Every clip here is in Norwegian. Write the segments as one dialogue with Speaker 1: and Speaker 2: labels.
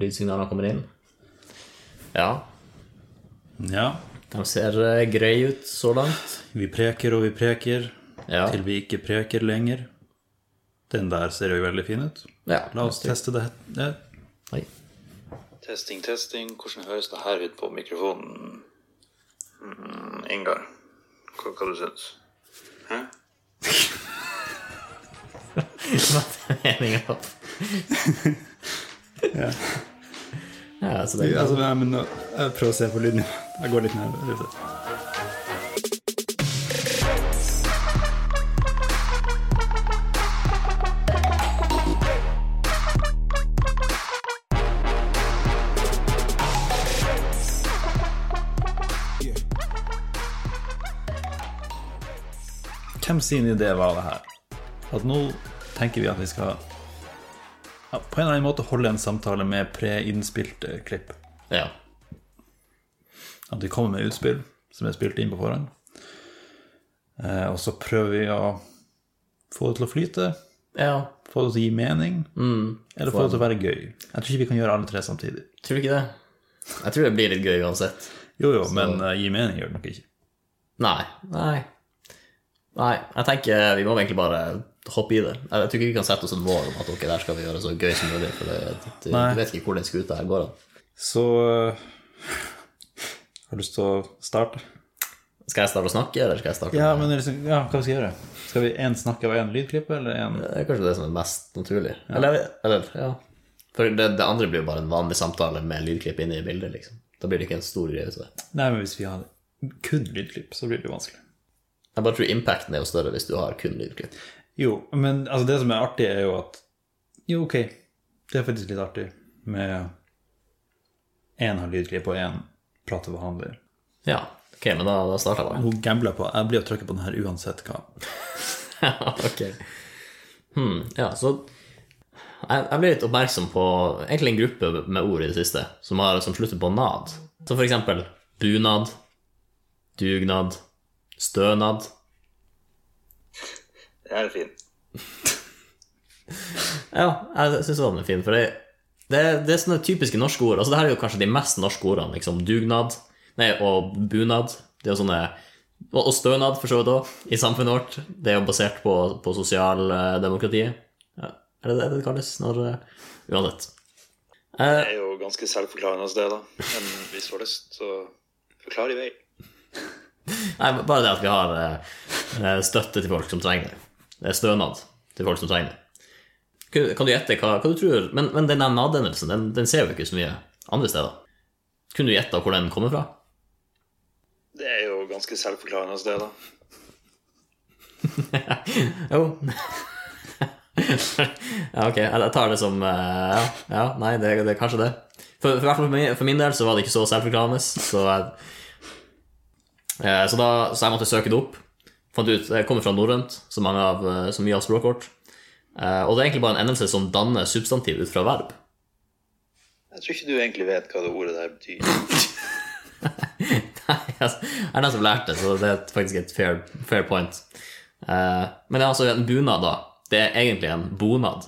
Speaker 1: lydsignalene kommer inn. Ja,
Speaker 2: Ja,
Speaker 1: de ser eh, grei ut så langt.
Speaker 2: vi preker og vi preker
Speaker 1: Ja.
Speaker 2: til vi ikke preker lenger. Den der ser jo veldig fin ut.
Speaker 1: Ja.
Speaker 2: La oss teste det. Ja.
Speaker 1: Oi.
Speaker 3: Testing, testing. Hvordan høres det her ut på mikrofonen? Mm, Ingar, hva, hva du syns Hæ?
Speaker 1: Meningen opp. ja, så det er
Speaker 2: Altså, nei, men nå- jeg prøver å se på lyden. Jeg går litt ned. Hvem sin idé var det her? At nå tenker vi at vi skal ja, på en eller annen måte holde en samtale med preinnspilte klipp.
Speaker 1: Ja.
Speaker 2: At vi kommer med utspill som er spilt inn på forhånd. Eh, og så prøver vi å få det til å flyte,
Speaker 1: ja.
Speaker 2: få det til å gi mening, eller få det til å være gøy. Jeg tror ikke vi kan gjøre alle tre samtidig.
Speaker 1: Tror du ikke det? Jeg tror det blir litt gøy uansett.
Speaker 2: Jo, jo, men eh, gi mening gjør det nok ikke.
Speaker 1: Nei. Nei. Nei, jeg tenker vi må egentlig bare hoppe i det. Jeg tror ikke vi kan sette oss en mål om at ok, der skal vi gjøre det så gøy som mulig, for det, du, du
Speaker 2: Nei.
Speaker 1: vet ikke hvor den skuta her går. da.
Speaker 2: Så eh, Har du lyst til å starte?
Speaker 1: Skal jeg starte å snakke, eller skal jeg starte
Speaker 2: Ja, men det er liksom, ja, hva skal vi gjøre? Skal vi én snakke og én lydklippe, eller én
Speaker 1: Det er kanskje det som er mest naturlig. Eller, eller ja. For det, det andre blir jo bare en vanlig samtale med lydklipp inne i bildet, liksom. Da blir det ikke en stor greie ut av det.
Speaker 2: Nei, men hvis vi har kun lydklipp, så blir det jo vanskelig.
Speaker 1: Jeg bare tror impacten er jo større hvis du har kun lydklipp.
Speaker 2: Jo, men altså, det som er artig, er jo at Jo, ok, det er faktisk litt artig med én har lydklipp og én pratebehandler.
Speaker 1: Ja, ok, men da, da starter jeg bare.
Speaker 2: Hun gambler på Jeg blir å trykke på den her uansett hva.
Speaker 1: Ja, ok. Hmm, ja, så jeg, jeg ble litt oppmerksom på egentlig en gruppe med ord i det siste som, har, som slutter på nad. Som for eksempel bunad, dugnad, stønad.
Speaker 3: Den er fin.
Speaker 1: Ja, jeg syns den er fin, for det, det, det er sånne typiske norske ord. Altså, det her er jo kanskje de mest norske ordene, liksom dugnad nei, og bunad. Det er jo sånne Og og stønad, for så vidt òg, i samfunnet vårt. Det er jo basert på, på sosialdemokratiet. Ja, er det det det kalles når eh, Uansett.
Speaker 3: Det er jo ganske selvforklarende hos det, da. Men hvis du har lyst, så forklar i vei.
Speaker 1: Nei, bare det at vi har eh, støtte til folk som trenger det. Det er stønad til folk som trenger det. Kan kan du gjette hva, hva du tror? Men, men den der nadendelsen, den, den ser vi ikke så mye andre steder. Kunne du gjette hvor den kommer fra?
Speaker 3: Det er jo ganske selvforklarende hos det, da.
Speaker 1: Jo. ja, ok, jeg tar det som eh, Ja, ja nei, det, det er kanskje det. For, for, i hvert fall for, min, for min del så var det ikke så selvforklarende, så jeg, eh, så, da, så jeg måtte søke det opp. Fant ut, Jeg kommer fra norrønt, så, mange av, eh, så mye av språket vårt. Eh, og det er egentlig bare en endelse som danner substantiv ut fra verb.
Speaker 3: Jeg tror ikke du egentlig vet hva det ordet der betyr.
Speaker 1: Nei, altså, jeg er den som lærte det, så det er et- faktisk et fair, fair point. Eh, men det er altså en bunad, da. Det er egentlig en bonad.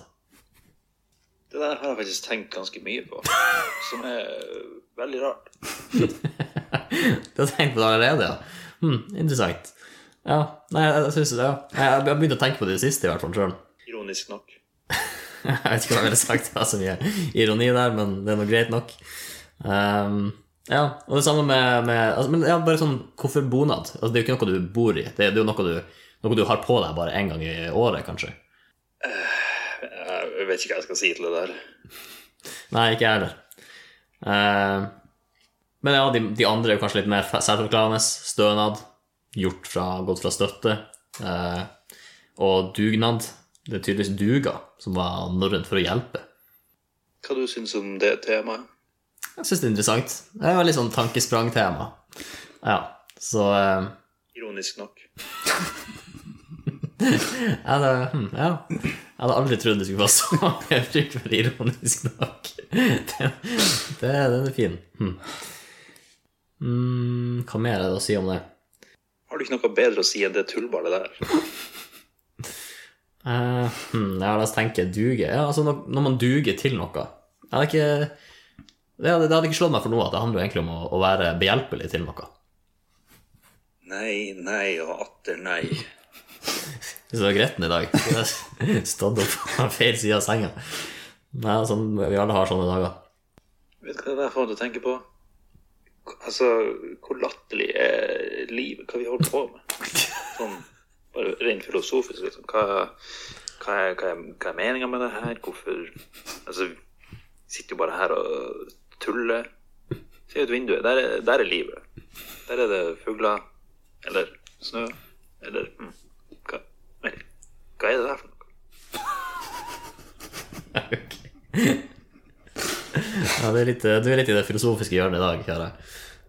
Speaker 3: Det der har jeg faktisk tenkt ganske mye på, som er veldig rart.
Speaker 1: Du har tenkt på det allerede, ja? Hm, interessant. Ja, nei, jeg synes det, ja. Jeg har begynt å tenke på det i det siste, i hvert fall sjøl.
Speaker 3: Ironisk nok.
Speaker 1: Jeg vet ikke om jeg ville sagt det var så mye ironi der, men det er nå greit nok. Ehm, ja, og det samme med, med altså, Men ja, bare sånn, hvorfor bonad? Altså, det er jo ikke noe du bor i, det er det er jo noe du, noe du har på deg bare én gang i året, kanskje.
Speaker 3: Jeg vet ikke hva jeg skal si til det der.
Speaker 1: Nei, ikke jeg heller. Eh, men ja, de, de andre er jo kanskje litt mer fe- selvforklarende. Stønad, gjort fra, gått fra støtte. eh, og dugnad. Det er tydeligvis duga som var norrønt for å hjelpe.
Speaker 3: Hva du syns om det temaet?
Speaker 1: Jeg syns det er interessant. Det er veldig sånn tankesprangtema. Ja, så eh,
Speaker 3: Ironisk nok.
Speaker 1: jeg hadde, hm, ja. jeg hadde aldri trodd det skulle være så mange uttrykk for ironisk nok. Den, det, den er fin. Hm. Mm, hva mer er det å si om det?
Speaker 3: Har du ikke noe bedre å si enn det tullballet der?
Speaker 1: Eh, hmm, ja, la oss tenke duge. Ja, altså når, når man duger til noe. Ja, det er ikke Det, hadde- det hadde ikke slått meg for noe at det handler jo egentlig om å, å være behjelpelig til noe.
Speaker 3: Nei, nei og atter nei.
Speaker 1: Hvis jeg var gretten i dag, så hadde jeg stått opp på feil side av senga. Nei, sånn, vi alle har sånne dager.
Speaker 3: Vet du hva det der får meg til å tenke på? Altså, hvor latterlig er livet? Hva vi holder på med? Sånn, bare rent filosofisk, liksom. Hva, hva er, hva er, hva er meninga med det her? Hvorfor Altså, vi sitter jo bare her og tuller. Se ut vinduet. Der er, der er livet. Der er det fugler. Eller snø. Eller mm, hva, men, hva er det der for noe?
Speaker 1: Ok. Ja, det er litt, du er litt i det filosofiske hjørnet i dag, kjære.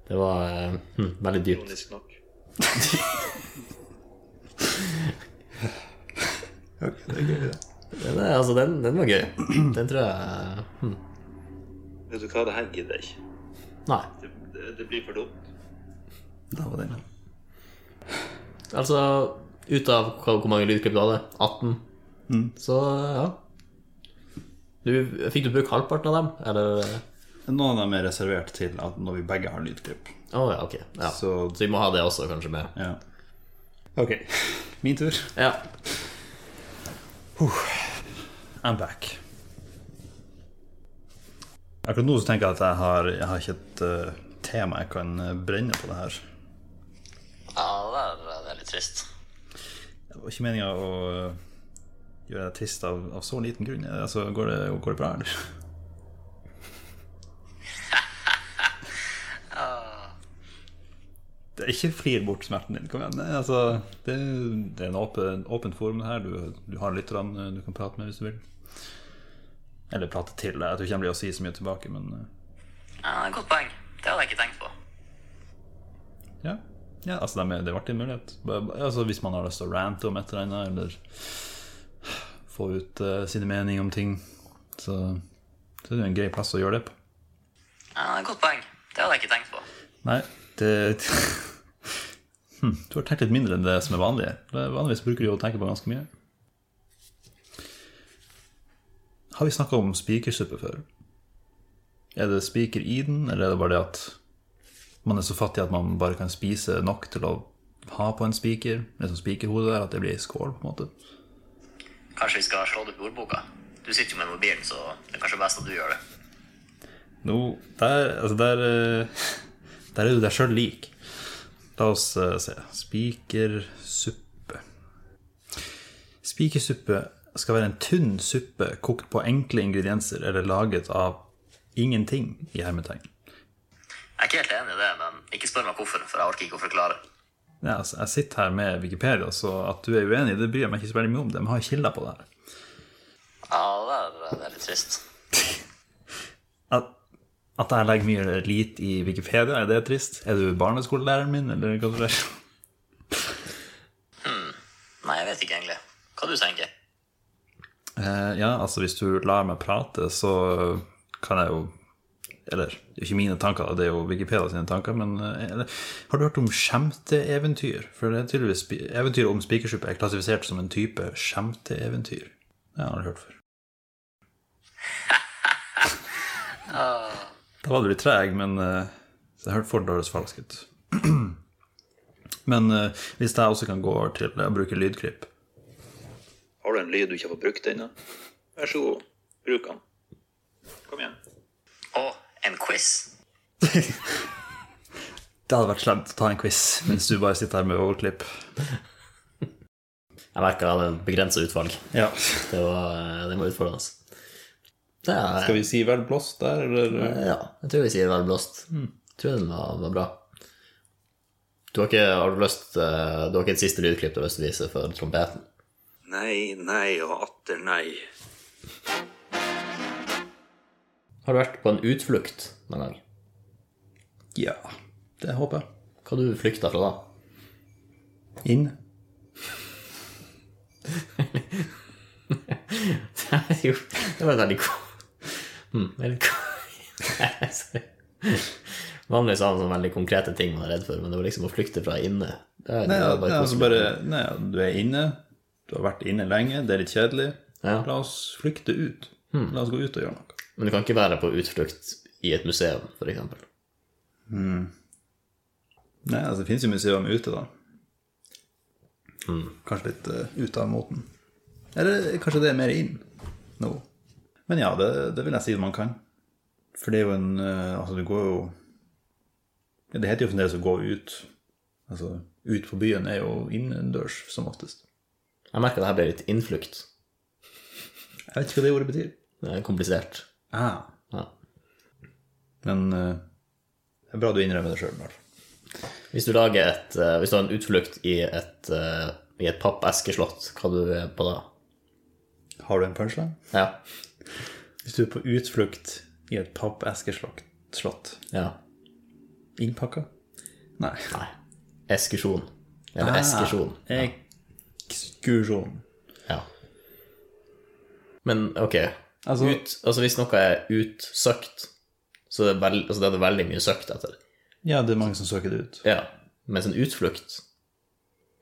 Speaker 1: Det var eh, hm, veldig dypt.
Speaker 3: Ironisk nok.
Speaker 2: Ok, det er gøy, det.
Speaker 1: Den, er, altså, den, den var gøy. Den tror jeg hm.
Speaker 3: Vet du hva, det her gidder jeg ikke.
Speaker 1: Nei.
Speaker 3: Det, det, det blir for dumt.
Speaker 2: Da var den.
Speaker 1: Altså, ut av hva- hvor mange lydklipp du hadde, 18, så ja. Du, fikk du bruke halvparten av dem, eller eh,
Speaker 2: Noen av dem er reservert til at når vi begge har lydklipp.
Speaker 1: Å ja, ok. Ja. Så
Speaker 2: Så
Speaker 1: vi må ha det også, kanskje, med.
Speaker 2: ja. Ok. Min tur.
Speaker 1: Ja.
Speaker 2: I'm back. Akkurat nå så tenker jeg at jeg har, jeg har ikke et eh, tema jeg kan eh, brenne på det her.
Speaker 1: ja det er litt trist.
Speaker 2: Det var ikke meninga å eh, gjøre deg trist av, av så liten grunn. Eh, Altså, går det, går det bra, eller? Det er ikke flir bort smerten din. Kom igjen. Nei, altså, det, det er en åpen, åpent forum det her. Du, du har lytterne eh, du kan prate med hvis du vil. Eller prate til. Jeg tror ikke han blir å si så mye tilbake, men eh,
Speaker 4: Ja, det er et godt poeng. Det hadde jeg ikke tenkt på.
Speaker 2: Ja. ja altså, det er- det ble en mulighet. Bare- bare- Altså, hvis man har lyst til å rante om et eller annet, eller få ut eh, sine meninger om ting, så, så er det jo en grei plass å gjøre det på.
Speaker 4: Ja, det er et godt poeng. Det hadde jeg ikke tenkt på.
Speaker 2: Nei, det hm, Du har tenkt litt mindre enn det som er vanlig. Det er- Vanligvis bruker du jo å tenke på ganske mye. Har vi snakka om spikersuppe før? Er det spiker i den, eller er det bare det at man er så fattig at man bare kan spise nok til å ha på en spiker? Det som spikerhodet der, at det blir ei skål, på en måte.
Speaker 4: Kanskje vi skal slå det opp i ordboka? Du sitter jo med mobilen, så det er kanskje best at du gjør det.
Speaker 2: Nå, der, altså der eh, Der er du deg sjøl lik. La oss eh, se. Spikersuppe. Spikersuppe skal være en tynn suppe kokt på enkle ingredienser eller laget av ingenting i hermetegn.
Speaker 4: Jeg er ikke helt enig i det, men ikke spør meg hvorfor, for jeg orker ikke å forklare.
Speaker 2: Ja, altså, jeg sitter her med Wikipedia, så at du er uenig, det bryr jeg meg ikke så veldig mye om. De har kilder på det her.
Speaker 4: Ja, det er, det er litt trist.
Speaker 2: At, at jeg legger mye lit i Wikipedia, er det trist? Er du barneskolelæreren min, eller hva det er?
Speaker 4: Nei, jeg vet ikke egentlig. Hva du tenker?
Speaker 2: Eh, ja, altså hvis du lar meg prate, så kan jeg jo Eller det er jo ikke mine tanker, det er jo Wikipedia sine tanker, men eh, eller, Har du hørt om skjemteeventyr? For det er tydeligvis spi- eventyr om spikersuppe er klassifisert som en type skjemteeventyr. Det har jeg aldri hørt før. Da var du litt treg, men eh, så jeg hørte fort det høres falsk ut. Men eh, hvis jeg også kan gå over til eh, å bruke lydklipp
Speaker 3: Har du en lyd du ikke har fått brukt ennå? Vær så god, bruk den. Kom igjen.
Speaker 4: Å, en quiz?
Speaker 2: Det hadde vært slemt å ta en quiz mens du bare sitter her med overklipp.
Speaker 1: Jeg merker jeg hadde et begrenset utvalg.
Speaker 2: Ja.
Speaker 1: Det, var, eh, det må utfordres. Det er, eh,
Speaker 2: Skal vi si vel blås der, eller?
Speaker 1: Ja, jeg tror vi sier vel blåst. Hmm. Jeg tror den var, var bra. Du har ikke, har du lyst, eh, du har ikke et siste lydklipp du har lyst til å vise for trompeten?
Speaker 3: Nei, nei og atter nei.
Speaker 1: Har du vært på en utflukt noen gang?
Speaker 2: Ja. Det håper jeg.
Speaker 1: Hva har du flykta fra da?
Speaker 2: Inn.
Speaker 1: jo, det var et veldig ko- hmm, veldig ko- Vanligvis har man sånne veldig konkrete ting man er redd for, men det var liksom å flykte fra inne. Det er,
Speaker 2: Nei,
Speaker 1: det
Speaker 2: ja,
Speaker 1: er bare
Speaker 2: nei, altså
Speaker 1: koselig.
Speaker 2: bare, nei, ja, du er inne. Du har vært inne lenge, det er litt kjedelig.
Speaker 1: Ja. Hmm.
Speaker 2: La oss flykte ut. La oss gå ut og gjøre noe.
Speaker 1: Men du kan ikke være på utflukt i et museum, f.eks.
Speaker 2: Nei, altså det finnes jo museum ute, da. Kanskje litt eh, ute av moten. Eller kanskje det er mer inn nå. Men ja, det, det vil jeg si man kan. For det er jo en eh, Altså, du går jo ja, Det heter jo fremdeles å gå ut. Altså, ut på byen er jo innendørs som oftest.
Speaker 1: Jeg merker det her ble litt innflukt.
Speaker 2: Jeg vet ikke hva det ordet betyr.
Speaker 1: Det er komplisert.
Speaker 2: Ah.
Speaker 1: Ja.
Speaker 2: Men eh, det er bra du innrømmer det sjøl, i hvert fall.
Speaker 1: Hvis du lager et, eh, hvis du har en utflukt i et, eh, i et pappeskeslott, hva du er på da?
Speaker 2: Har du en punchline?
Speaker 1: Ja.
Speaker 2: Hvis du er på utflukt i et pappeskeslott slott.
Speaker 1: ja.
Speaker 2: Innpakka? Nei.
Speaker 1: Nei. Eskisjon. Eller eskisjon.
Speaker 2: Ah, Ekskursjon.
Speaker 1: Ja. Men ok,
Speaker 2: Altså-
Speaker 1: ut, altså hvis noe er utsøkt, så er det, veld, altså det er det veldig mye søkt etter.
Speaker 2: Ja, det er mange som søker det ut.
Speaker 1: Ja. Mens en utflukt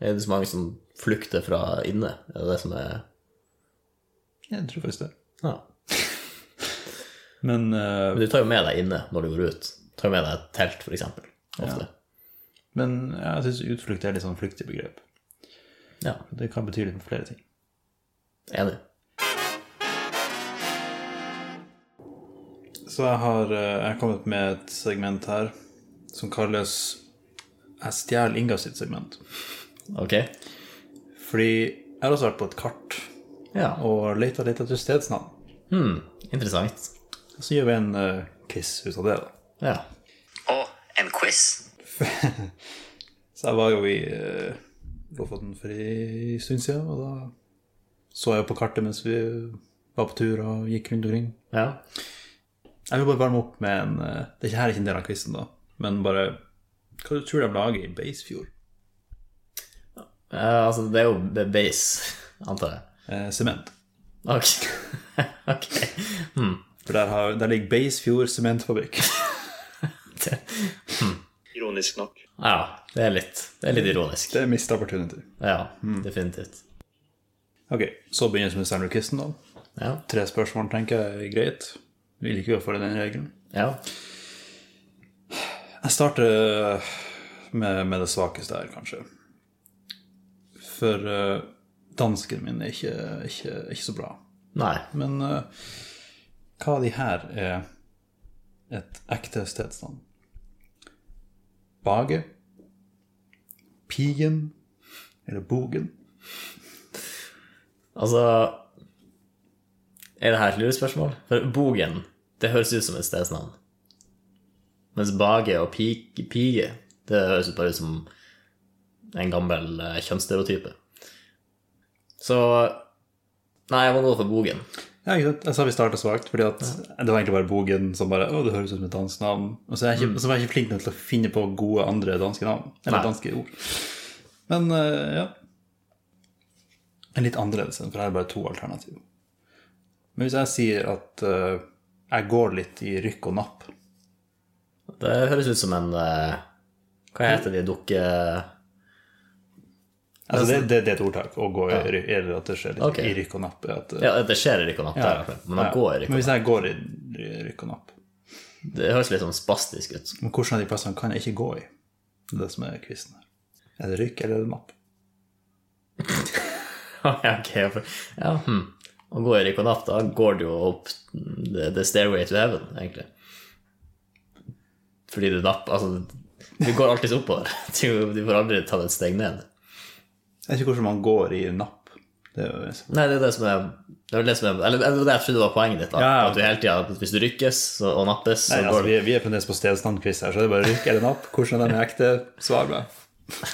Speaker 1: er det så mange som flykter fra inne. Det er det som er
Speaker 2: Jeg tror faktisk det.
Speaker 1: Ja.
Speaker 2: Men, eh,
Speaker 1: Men du tar jo med deg inne når du går ut. Tar jo med deg et telt, for eksempel. Ofte.
Speaker 2: men ja, jeg syns utflukt er et litt sånn flyktig begrep.
Speaker 1: Ja.
Speaker 2: Det kan bety litt flere ting.
Speaker 1: Enig.
Speaker 2: Så jeg har, eh, jeg har kommet med et segment her som kalles 'Jeg stjeler Inga sitt segment'.
Speaker 1: Ok.
Speaker 2: Fordi jeg har også vært på et kart
Speaker 1: Ja.
Speaker 2: og leita litt etter stedsnavn.
Speaker 1: Hmm, interessant.
Speaker 2: Så gjør vi en eh, quiz ut av det, da.
Speaker 1: Ja.
Speaker 4: Og en quiz.
Speaker 2: Så jeg var jo i eh, Lofoten for en stund siden, og da så jeg jo på kartet mens vi var på tur og gikk rundt omkring.
Speaker 1: ja.
Speaker 2: Jeg vil bare varme opp med en eh, Det er ikke her er ikke en del av quizen, da, men bare Hva du tror du de lager i Beisfjord?
Speaker 1: Eh, altså, det er jo b- base, antar jeg.
Speaker 2: Eh, Sement.
Speaker 1: Ok. ok. Hmm.
Speaker 2: For der, har, der ligger Beisfjord sementfabrikk.
Speaker 1: Det,
Speaker 3: Ironisk nok.
Speaker 1: ja, det er litt, det er litt ironisk.
Speaker 2: Det er missed opportunity.
Speaker 1: Ja,
Speaker 2: Mm.
Speaker 1: definitivt.
Speaker 2: Ok, så begynner vi med standard-quizen, da.
Speaker 1: Ja.
Speaker 2: Tre spørsmål tenker jeg er greit. Vi liker jo å følge den regelen.
Speaker 1: ja.
Speaker 2: Jeg starter eh, med, med det svakeste her, kanskje. For eh, dansken min er ikke, ikke, ikke så bra.
Speaker 1: Nei.
Speaker 2: Men eh, hva av de her er et ekte stedsnavn? Bage? Pigen? Eller Bogen?
Speaker 1: Altså Er det her et lurespørsmål? For Bogen, det høres ut som et stedsnavn. Mens Bage og pike, Pige, det høres ut bare ut som en gammel eh, kjønnsstereotype. Så Nei, jeg må gå for Bogen.
Speaker 2: Ja, ikke sant? Jeg sa vi starta svakt, fordi at det var egentlig bare Bogen som bare Å, det høres ut som et dansk navn. Og så, er jeg ikke, så var jeg ikke flink nok til å finne på gode andre danske navn. Eller
Speaker 1: Mm. Nei.
Speaker 2: danske ord. Men eh, ja. En litt annerledes enn, for her er det bare to alternativer. Men hvis jeg sier at eh, jeg går litt i rykk og napp
Speaker 1: Det høres ut som en eh, Hva heter de dukke...
Speaker 2: Altså det, det, det er et ordtak. Å gå i, ry- eller at det skjer litt
Speaker 1: Ok.
Speaker 2: i rykk og napp. er At, eh,
Speaker 1: Ja, det skjer i Rikon Natt,
Speaker 2: ja,
Speaker 1: men man
Speaker 2: ja.
Speaker 1: går i Rikon
Speaker 2: Men hvis jeg går i ry- rykk og napp
Speaker 1: Natt. Det høres litt sånn spastisk ut.
Speaker 2: Men hvordan av de plassene kan jeg ikke gå i? Det er det som er quizen her. Er det rykk eller er det napp?
Speaker 1: ja, ok, jeg får- ja, hm. Å gå i Rikon Natt, da går du jo opp the, the stairway to heaven, egentlig. Fordi du napper Altså, du går alltid oppover. Du, du får aldri tatt et steg ned.
Speaker 2: Jeg vet ikke hvordan man går i napp. Det er jo... altså,
Speaker 1: Nei, det er det som er det er vel det som er, eller det er det jeg trodde var poenget ditt. Da.
Speaker 2: Ja, ja.
Speaker 1: At du hele tiden, Hvis du rykkes så, og nappes, så
Speaker 2: Nei, altså,
Speaker 1: går du
Speaker 2: vi, er- vi er fremdeles på stedstandquiz her, så det er bare rykk eller napp. Hvordan av dem er ekte? Svar meg.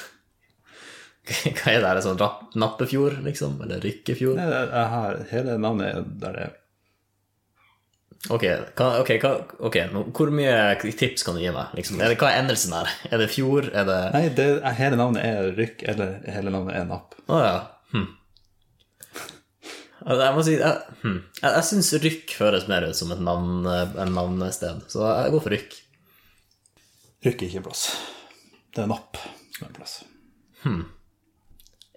Speaker 1: Hva er det her? en Sånn rapp- nappefjord, liksom? Eller rykkefjord?
Speaker 2: Nei, det er- jeg har hele navnet er der det er.
Speaker 1: Ok, hva, ok, hva, ok nå, hvor mye tips kan du gi meg? Liksom? Er det, hva er endelsen her? Er det fjord? Er det
Speaker 2: Nei, det, er- hele navnet er rykk, eller hele navnet er napp.
Speaker 1: Å ja. Hm. Altså, Jeg må si Jeg, hm. jeg, jeg syns Rykk høres mer ut som et navn, eh, en navnested, så jeg går for Rykk.
Speaker 2: Rykk er ikke en plass. Det er napp som er en plass.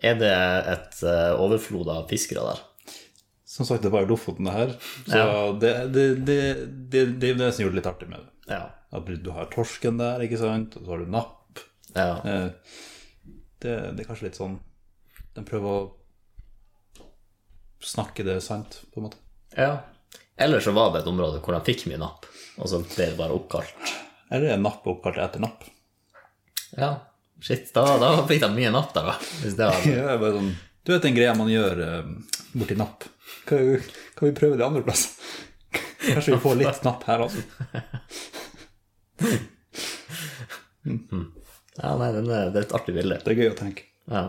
Speaker 1: Er det et eh, overflod av fiskere der?
Speaker 2: Som sagt, det var jo Lofoten, det her. Så det, det, det, det, det er jo det som gjorde det litt artig med det.
Speaker 1: Ja.
Speaker 2: At du har torsken der, ikke sant, og så har du napp.
Speaker 1: ja.
Speaker 2: Eh, Det, det er kanskje litt sånn De prøver å snakke det sant, på en måte.
Speaker 1: ja. Eller så var det et område hvor de fikk mye napp, og så ble det bare oppkalt.
Speaker 2: Eller er napp oppkalt etter napp?
Speaker 1: Ja, shit, da, da fikk de mye napp der, da. Hvis det var...
Speaker 2: Ja, det er bare sånn, du vet den greia man gjør eh, borti napp? Kan, kan vi prøve det andre plass? Kanskje vi får litt napp her også?
Speaker 1: Ja, nei, den er, det er et artig bilde.
Speaker 2: Det er gøy å tenke.
Speaker 1: Ja.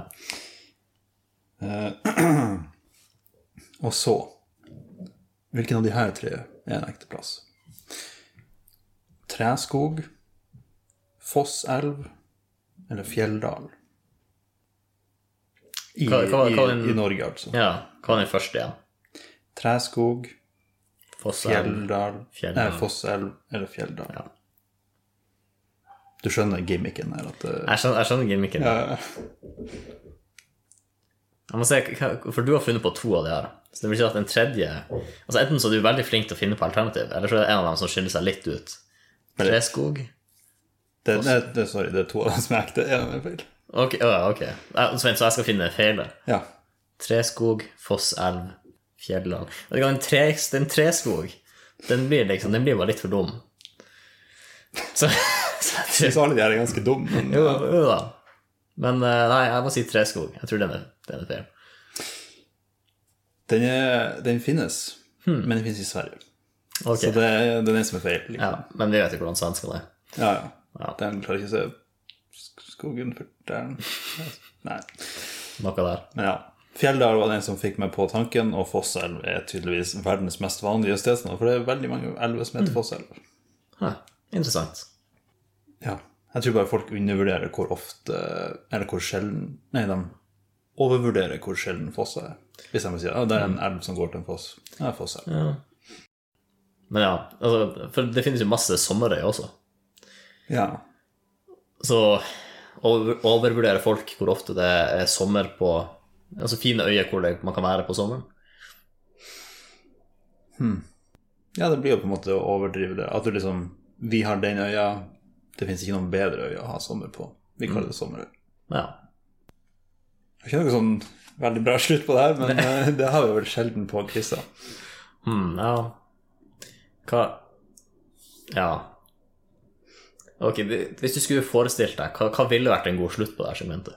Speaker 2: Og så Hvilken av de her tre er en ekte plass? Treskog, Fosselv eller Fjelldal? I,
Speaker 1: Hva- hva- hva er den-
Speaker 2: i, i Norge, altså.
Speaker 1: ja. Hva var den første igjen?
Speaker 2: Treskog,
Speaker 1: Fossa?
Speaker 2: Fjelldal,
Speaker 1: Fjelldal.
Speaker 2: Nei, Fosselv eller Fjelldal.
Speaker 1: Ja.
Speaker 2: Du skjønner gimmicken her? At eh, det,
Speaker 1: Jeg skjønner, jeg skjønner gimmicken.
Speaker 2: Ja.
Speaker 1: Jeg må se, hva- for du har funnet på to av de her. Så det vil si at en tredje altså Enten så er du veldig flink til å finne på alternativ, eller så er det en av dem som skiller seg litt ut. Treskog?
Speaker 2: det, det, det, sorry, det er to av dem som er ekte. Ja, det er feil.
Speaker 1: Ok, å, ja, ok. Ja, Så vent, så jeg skal finne feil der.
Speaker 2: Ja.
Speaker 1: Treskog, Fosselv, Fjelland. Vet du hva, Den, tre, den treskog, den blir liksom, den blir bare litt for dum. Så, så jeg tror
Speaker 2: Jeg syns alle de her er ganske dumme. men-
Speaker 1: Jo, jo da. Men eh, nei, jeg må si treskog. Jeg tror den er, den er feil.
Speaker 2: Den, er, den finnes,
Speaker 1: Hmm.
Speaker 2: men den finnes i Sverige.
Speaker 1: Ok,
Speaker 2: Så det er den eneste som er feil.
Speaker 1: ja,
Speaker 2: Liksom.
Speaker 1: Men vi vet jo hvordan svenskene er.
Speaker 2: Ja,
Speaker 1: Ja.
Speaker 2: ja. Den klarer ikke å se sk- skogen for den. Nei.
Speaker 1: Noe der.
Speaker 2: Men ja. Fjelldal var den som fikk meg på tanken, og Fosselv er tydeligvis verdens mest vanlige stedsnavn, for det er veldig mange elver som heter Fosselv.
Speaker 1: Huh. Interessant.
Speaker 2: Ja. Jeg tror bare folk undervurderer hvor ofte Eller hvor sjelden Nei, de overvurderer hvor sjelden fossa er. Hvis de vil si at ah, det er en elv som går til en foss. Ja, Fosselv.
Speaker 1: Men ja, altså, for det finnes jo masse sommerøy også.
Speaker 2: Ja.
Speaker 1: Så over, overvurderer folk hvor ofte det er sommer på Altså fine øyer hvor det, man kan være på sommeren.
Speaker 2: Ja, det blir jo på en måte å overdrive det. At du liksom Vi har den øya, det fins ikke noen bedre øy å ha sommer på. Vi kaller det sommerøy.
Speaker 1: Ja.
Speaker 2: Det er ikke noe sånn veldig bra slutt på det her, men eh, det har vi vel sjelden på Krista.
Speaker 1: Hmm, ja. Hva Ja. Ok, hvis du skulle forestilt deg, hva, hva ville vært en god slutt på det her segmentet?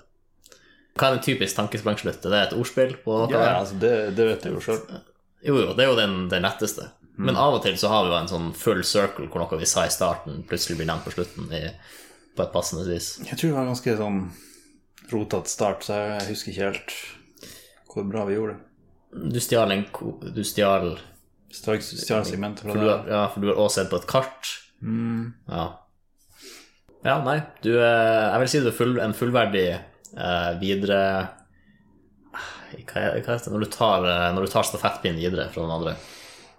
Speaker 1: Hva er en typisk tankesprangslutt? Er det et ordspill på noe?
Speaker 2: Ja, ja, altså, det, det vet du jo sjøl.
Speaker 1: Jo, jo, det er jo den, den letteste. Men av og til så har vi jo en sånn full circle hvor noe vi sa i starten, plutselig blir nevnt på slutten i, på et passende vis.
Speaker 2: Jeg tror det var en ganske sånn rotete start, så jeg husker ikke helt hvor bra vi gjorde det.
Speaker 1: Du stjal en ko... Du stjal
Speaker 2: Stjal stjal segmentet fra Mm.
Speaker 1: for du, har,
Speaker 2: det.
Speaker 1: ja, for du har også sett på et kart. Ja. ja, nei, du eh, Jeg vil si du er full, en fullverdig eh, videre eh, hva, er- hva heter det når du tar, eh, når du tar stafettpinnen videre fra den andre?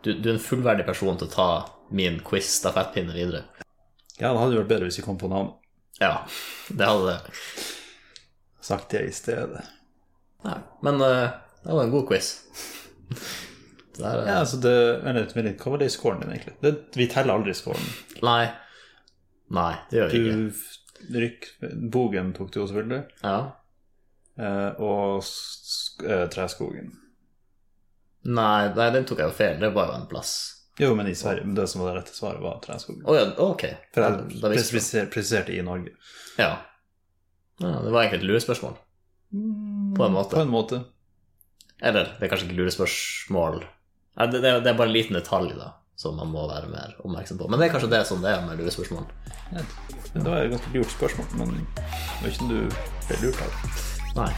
Speaker 1: Du, du er en fullverdig person til å ta min quiz-stafettpinne videre.
Speaker 2: Ja, det hadde jo vært bedre hvis vi kom på navnet.
Speaker 1: Ja, det hadde det.
Speaker 2: Sagt det i stedet.
Speaker 1: Nei, men eh, det var en god quiz. Det er,
Speaker 2: Ja, altså det Vent litt, vent litt, hva var det i scoren din, egentlig? Det, vi teller aldri scoren.
Speaker 1: Nei. Nei, det gjør vi ikke.
Speaker 2: Du rykk Bogen tok du jo selvfølgelig.
Speaker 1: Ja.
Speaker 2: eh, Og sk eh, Treskogen.
Speaker 1: Nei, nei, den tok jeg jo feil. Det var jo en plass.
Speaker 2: Jo, men i Sverige. Men det som var det rette svaret, var Treskogen.
Speaker 1: Å ja, ok.
Speaker 2: For
Speaker 1: Ja,
Speaker 2: jeg
Speaker 1: da visste jeg.
Speaker 2: presiser- presiserte i Norge.
Speaker 1: Ja. ja. Det var egentlig et lurespørsmål. På en
Speaker 2: På
Speaker 1: måte.
Speaker 2: en måte.
Speaker 1: Eller det er kanskje ikke lurespørsmål. Nei, det, det er- det er bare en liten detalj da, som man må være mer oppmerksom på. Men det er kanskje det som det er med lurespørsmål.
Speaker 2: Ja, Det var et ganske lurt spørsmål, men det var ikke noe du ble lurt av.
Speaker 1: Nei.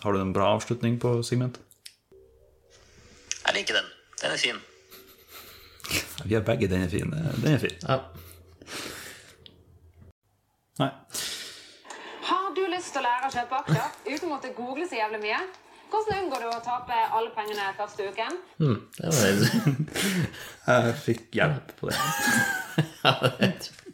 Speaker 2: Har du en bra avslutning på segmentet?
Speaker 4: Den er fin.
Speaker 2: Vi har begge den er fin. Den er fin.
Speaker 1: Ja.
Speaker 2: Nei.
Speaker 5: Har du lyst til å lære å kjøpe aksjer uten å måtte google så jævlig mye? Hvordan unngår du å tape alle pengene første uken?
Speaker 1: Hm, Det var det.
Speaker 2: Jeg fikk hjelp på det.
Speaker 1: Ja, det er-